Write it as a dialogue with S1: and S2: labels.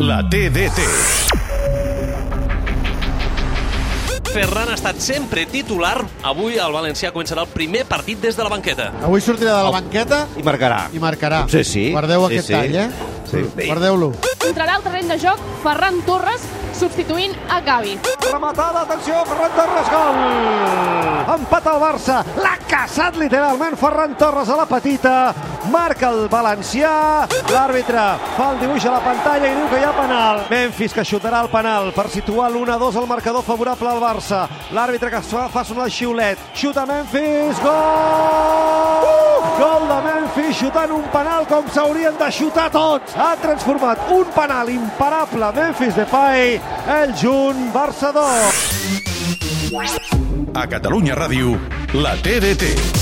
S1: La TDT.
S2: Ferran ha estat sempre titular. Avui el Valencià començarà el primer partit des de la banqueta.
S3: Avui sortirà de la banqueta
S4: I marcarà.
S3: i marcarà.
S4: Potser sí. Sí,
S3: Guardeu aquest
S4: sí.
S3: tall, eh?
S4: Sí.
S3: Guardeu-lo.
S5: Entrarà al terreny de joc Ferran Torres substituint a Gavi.
S6: Rematada, atenció, Ferran Torres, gol! Empat al Barça, l'ha caçat literalment Ferran Torres a la petita, marca el valencià, l'àrbitre fa el dibuix a la pantalla i diu que hi ha penal. Memphis que xutarà el penal per situar l'1-2 al marcador favorable al Barça. L'àrbitre que es fa, fa sonar el xiulet, xuta Memphis, gol! Gol de Memphis xutant un penal com s'haurien de xutar tots. Ha transformat un penal imparable Memphis Depay, el junt Barça 2.
S1: A Catalunya Ràdio, la TDT.